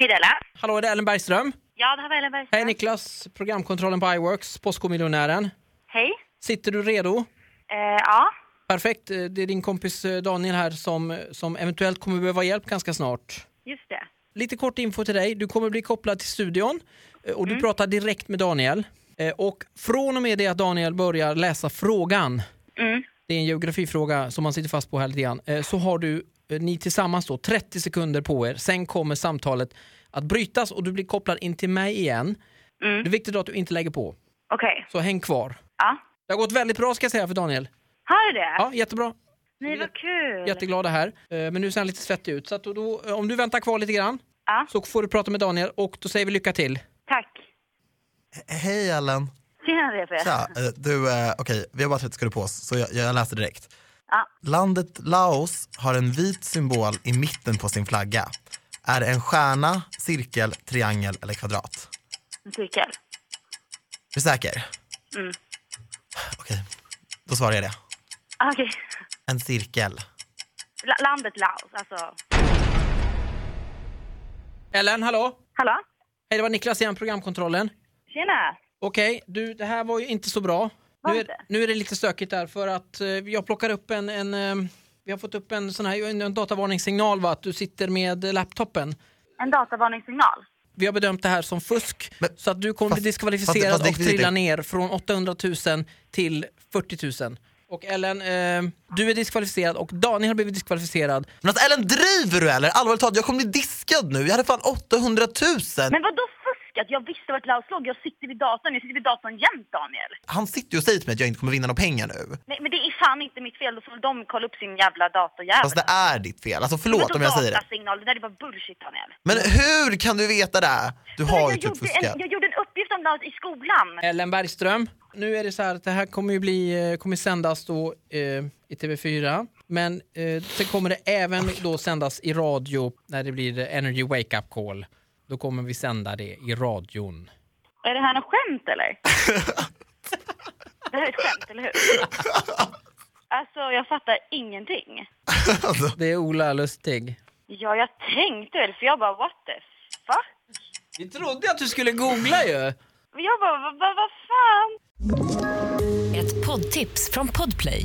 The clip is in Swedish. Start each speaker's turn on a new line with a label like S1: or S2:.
S1: Pidella.
S2: Hallå, är det Ellen Bergström?
S1: Ja, det här var Ellen Bergström.
S2: Hej Niklas, programkontrollen på iWorks, Postkodmiljonären.
S1: Hej.
S2: Sitter du redo?
S1: Eh, ja.
S2: Perfekt, eh, det är din kompis eh, Daniel här som, som eventuellt kommer behöva hjälp ganska snart.
S1: Just det.
S2: Lite kort info till dig. Du kommer bli kopplad till studion eh, och du pratar direkt med Daniel. Eh, Och från och med det att Daniel börjar läsa frågan,
S1: Mm.
S2: det är en geografifråga som man sitter fast på här lite grann, eh, så har du, eh, ni tillsammans då, 30 sekunder på er. Sen kommer samtalet att brytas och du blir kopplad in till mig igen.
S1: Mm.
S2: Det är viktigt då att du inte lägger på,
S1: Okej.
S2: så häng kvar.
S1: Ja.
S2: Det har gått väldigt bra ska jag säga för Daniel.
S1: Har du det?
S2: Ja, jättebra.
S1: Nej, vad kul.
S2: Jätteglada här. Eh, Men nu ser han lite svettig ut. Så att då- då, eh, om du väntar kvar lite grann
S1: Ja.
S2: så får du prata med Daniel och då säger vi lycka till.
S1: Tack.
S3: Hej Ellen!
S1: Tjena, Repe.
S3: Tja, eh, du, eh, okej, vi har bara 30 sekunder på oss, så jag, jag läser direkt.
S1: Ja.
S3: Landet Laos har en vit symbol i mitten på sin flagga. Är det en stjärna, cirkel, triangel eller kvadrat?
S1: En cirkel.
S3: Är du säker?
S1: Mm.
S3: Okej, då svarar jag det.
S1: Ah, Okej.
S3: En cirkel.
S1: La- Landet Laos, alltså.
S2: Ellen, hallå?
S1: Hallå?
S2: Hej, det var Niklas igen, programkontrollen.
S1: Tjena.
S2: Okej, du, det här var ju inte så bra. Nu är,
S1: Varför?
S2: nu är det lite stökigt där för att eh, jag plockar upp en, en eh, vi har fått upp en sån här en, en datavarningssignal va, att du sitter med eh, laptopen.
S1: En datavarningssignal.
S2: Vi har bedömt det här som fusk
S3: Men-
S2: så att du kommer
S3: fast-
S2: bli diskvalificerad
S3: fast det- fast det-
S2: och trilla ner från 800 000 till 40 000. Och Ellen, eh, du är diskvalificerad och Daniel har blivit diskvalificerad.
S3: Men alltså Ellen, driver du eller? Allvarligt talat, jag kommer bli diskad nu. Jag hade fan 800 000.
S1: Men vad då fuskat? Jag visste vart Laos låg. Jag sitter vid datorn. Jag sitter vid datorn jämt, Daniel.
S3: Han sitter ju och säger till mig att jag inte kommer vinna några pengar nu.
S1: Nej, men det är fan inte mitt fel. Då får väl de kolla upp sin jävla datorjävel.
S3: Fast Alltså, det är ditt fel. Alltså
S1: Men
S3: förlåt
S1: då
S3: om jag säger det.
S1: datasignal. Det där är bara bullshit, Daniel.
S3: Men hur kan du veta det? Du har ju
S1: jag,
S3: typ
S1: gjorde en,
S3: fuskat.
S1: jag gjorde en uppgift om Laos i skolan.
S2: Ellen Bergström. Nu är det så här att det här kommer ju bli, eh, kommer sändas då eh, i TV4. Men eh, sen kommer det även då sändas i radio när det blir eh, Energy Wake Up Call. Då kommer vi sända det i radion.
S1: Är det här något skämt eller? det här är ett skämt, eller hur? Alltså, jag fattar ingenting.
S2: Det är Ola Lustig.
S1: Ja, jag tänkte väl, för jag bara what the fuck?
S2: Vi trodde att du skulle googla ju!
S1: Men Jag bara, vad, vad, vad fan?
S4: Ett poddtips från Podplay.